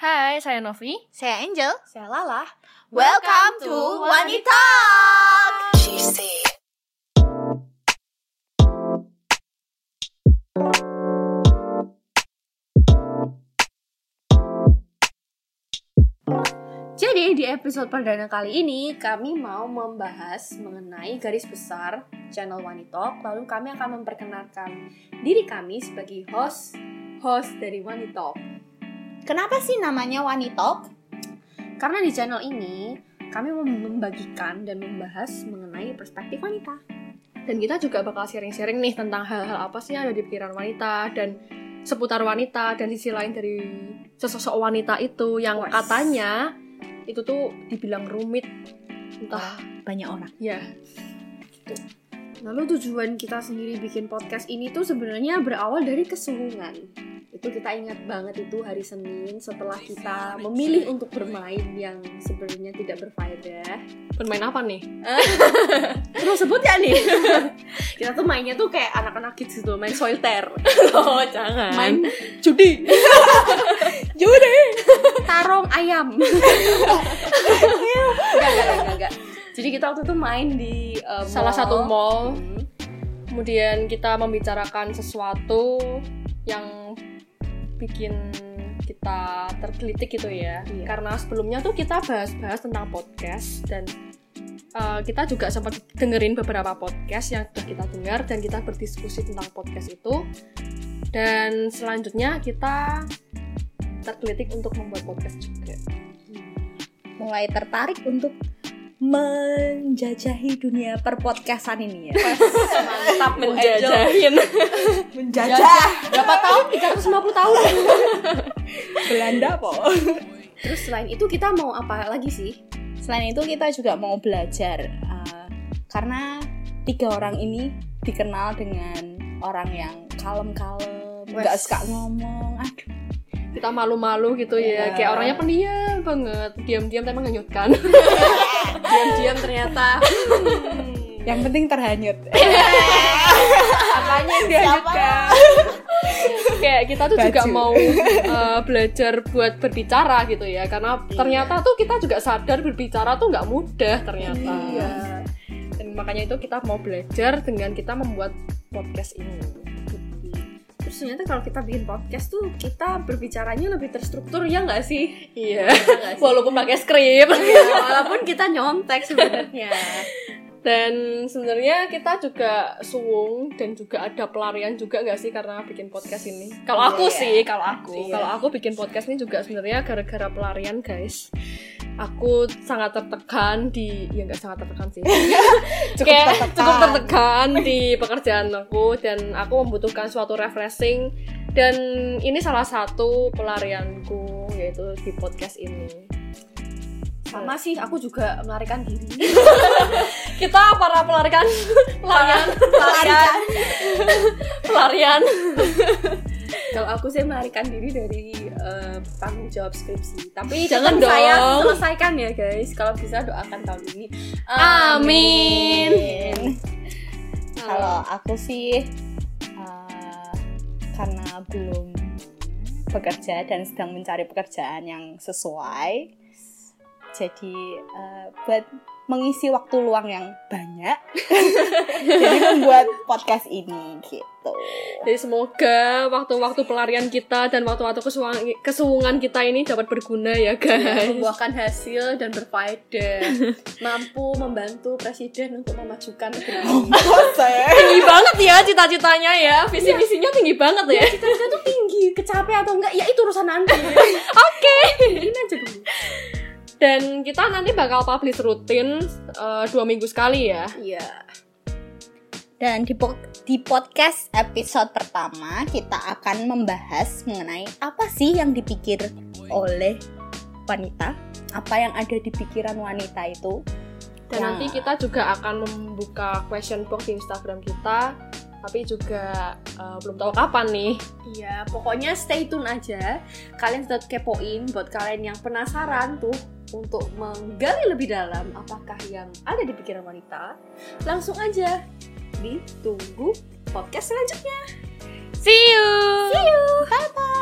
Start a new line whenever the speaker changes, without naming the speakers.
Hai, saya Novi.
Saya Angel.
Saya Lala.
Welcome to Wanita.
Jadi di episode perdana kali ini kami mau membahas mengenai garis besar channel Wanitalk Lalu kami akan memperkenalkan diri kami sebagai host host dari Wanitalk
Kenapa sih namanya Wanita?
Karena di channel ini kami mau membagikan dan membahas mengenai perspektif wanita Dan kita juga bakal sharing-sharing nih tentang hal-hal apa sih yang ada di pikiran wanita Dan seputar wanita dan sisi lain dari sesosok wanita itu yang
Wes.
katanya itu tuh dibilang rumit entah
Banyak orang.
Ya. Lalu tujuan kita sendiri bikin podcast ini tuh sebenarnya berawal dari kesulungan. Itu kita ingat banget itu hari Senin setelah kita memilih untuk bermain yang sebenarnya tidak berfaedah. Bermain apa nih? Terus sebut ya nih. kita tuh mainnya tuh kayak anak-anak kids gitu, main solitaire. Kan?
Oh, jangan.
Main judi. judi. Tarung ayam.
enggak, enggak, enggak, enggak.
Jadi kita waktu itu main di uh,
Salah satu mall,
Hmm.
kemudian kita membicarakan sesuatu yang bikin kita tergelitik gitu ya.
Iya.
Karena sebelumnya tuh kita bahas-bahas tentang podcast dan uh, kita juga sempat dengerin beberapa podcast yang sudah kita dengar dan kita berdiskusi tentang podcast itu. Dan selanjutnya kita tergelitik untuk membuat podcast juga.
Mulai tertarik untuk menjajahi dunia perpodcastan ini ya.
Mantap
Eh, Menjajahin.
Menjajah
Berapa tahun?
ya,
350 tahun.
Belanda po.
Terus selain itu kita mau apa lagi sih?
Selain itu kita juga mau belajar eh, karena tiga orang ini dikenal dengan orang yang kalem-kalem, nggak
Wes.
suka ngomong. Aduh,
kita malu-malu gitu ya
Iya.
kayak orangnya pendiam banget diam-diam tapi menghanyutkan diam-diam ternyata
yang penting terhanyut.
apanya yang dihanyutkan kayak kita tuh juga
Baju.
mau eh, belajar buat berbicara gitu ya karena
Iya.
ternyata tuh kita juga sadar berbicara tuh nggak mudah ternyata
Iya.
dan makanya itu kita mau belajar dengan kita membuat podcast ini
Terus ternyata kalau kita bikin podcast tuh kita berbicaranya lebih terstruktur ya nggak sih?
iya
Ya nggak sih?
walaupun pakai
Ya,
skrip
walaupun kita nyontek sebenarnya.
Dan sebenarnya kita juga suwung dan juga ada pelarian juga nggak sih karena bikin podcast ini. Kalau aku
Iya.
sih, kalau aku,
Iya.
kalau aku bikin podcast ini juga sebenarnya gara-gara pelarian guys. Aku sangat tertekan di, ya nggak sangat tertekan sih.
Cukup
Kayak
tertekan.
cukup tertekan di pekerjaan aku dan aku membutuhkan suatu refreshing dan ini salah satu pelarianku yaitu di podcast ini.
Sama sih, aku juga melarikan diri.
Kita para pelarikan pelarian pelarian pelarian
Kalau aku sih melarikan diri dari eh, tanggung jawab skripsi. Tapi
Jangan
tetap saya
dong.
selesaikan ya guys. Kalau bisa doakan tahun ini.
Amin.
Kalau aku sih eh, karena belum bekerja dan sedang mencari pekerjaan yang sesuai, jadi eh, buat mengisi waktu luang yang banyak, jadi membuat podcast ini gitu.
Jadi semoga waktu-waktu pelarian kita dan waktu-waktu kesuang- kesuwungan kita ini dapat berguna ya guys.
membuahkan hasil dan berfaedah mampu membantu presiden untuk memajukan negeri
Saya
Tinggi banget ya cita-citanya
Iya.
ya, visi-visinya tinggi banget ya.
cita-cita tuh tinggi kecapean atau enggak ya itu urusan nanti
Oke.
ini aja dulu
Dan kita nanti bakal publish rutin eh, dua minggu sekali ya.
iya
Dan di, po- di podcast episode pertama kita akan membahas mengenai apa sih yang dipikir oleh wanita, apa yang ada di pikiran wanita itu.
Iya.
Dan
Ya.
nanti kita juga akan membuka question box di Instagram kita, tapi juga eh, belum tahu kapan nih.
iya pokoknya stay tune aja kalian tetap kepoin buat kalian yang penasaran tuh untuk menggali lebih dalam apakah yang ada di pikiran wanita langsung aja ditunggu podcast selanjutnya
See you.
Bye bye.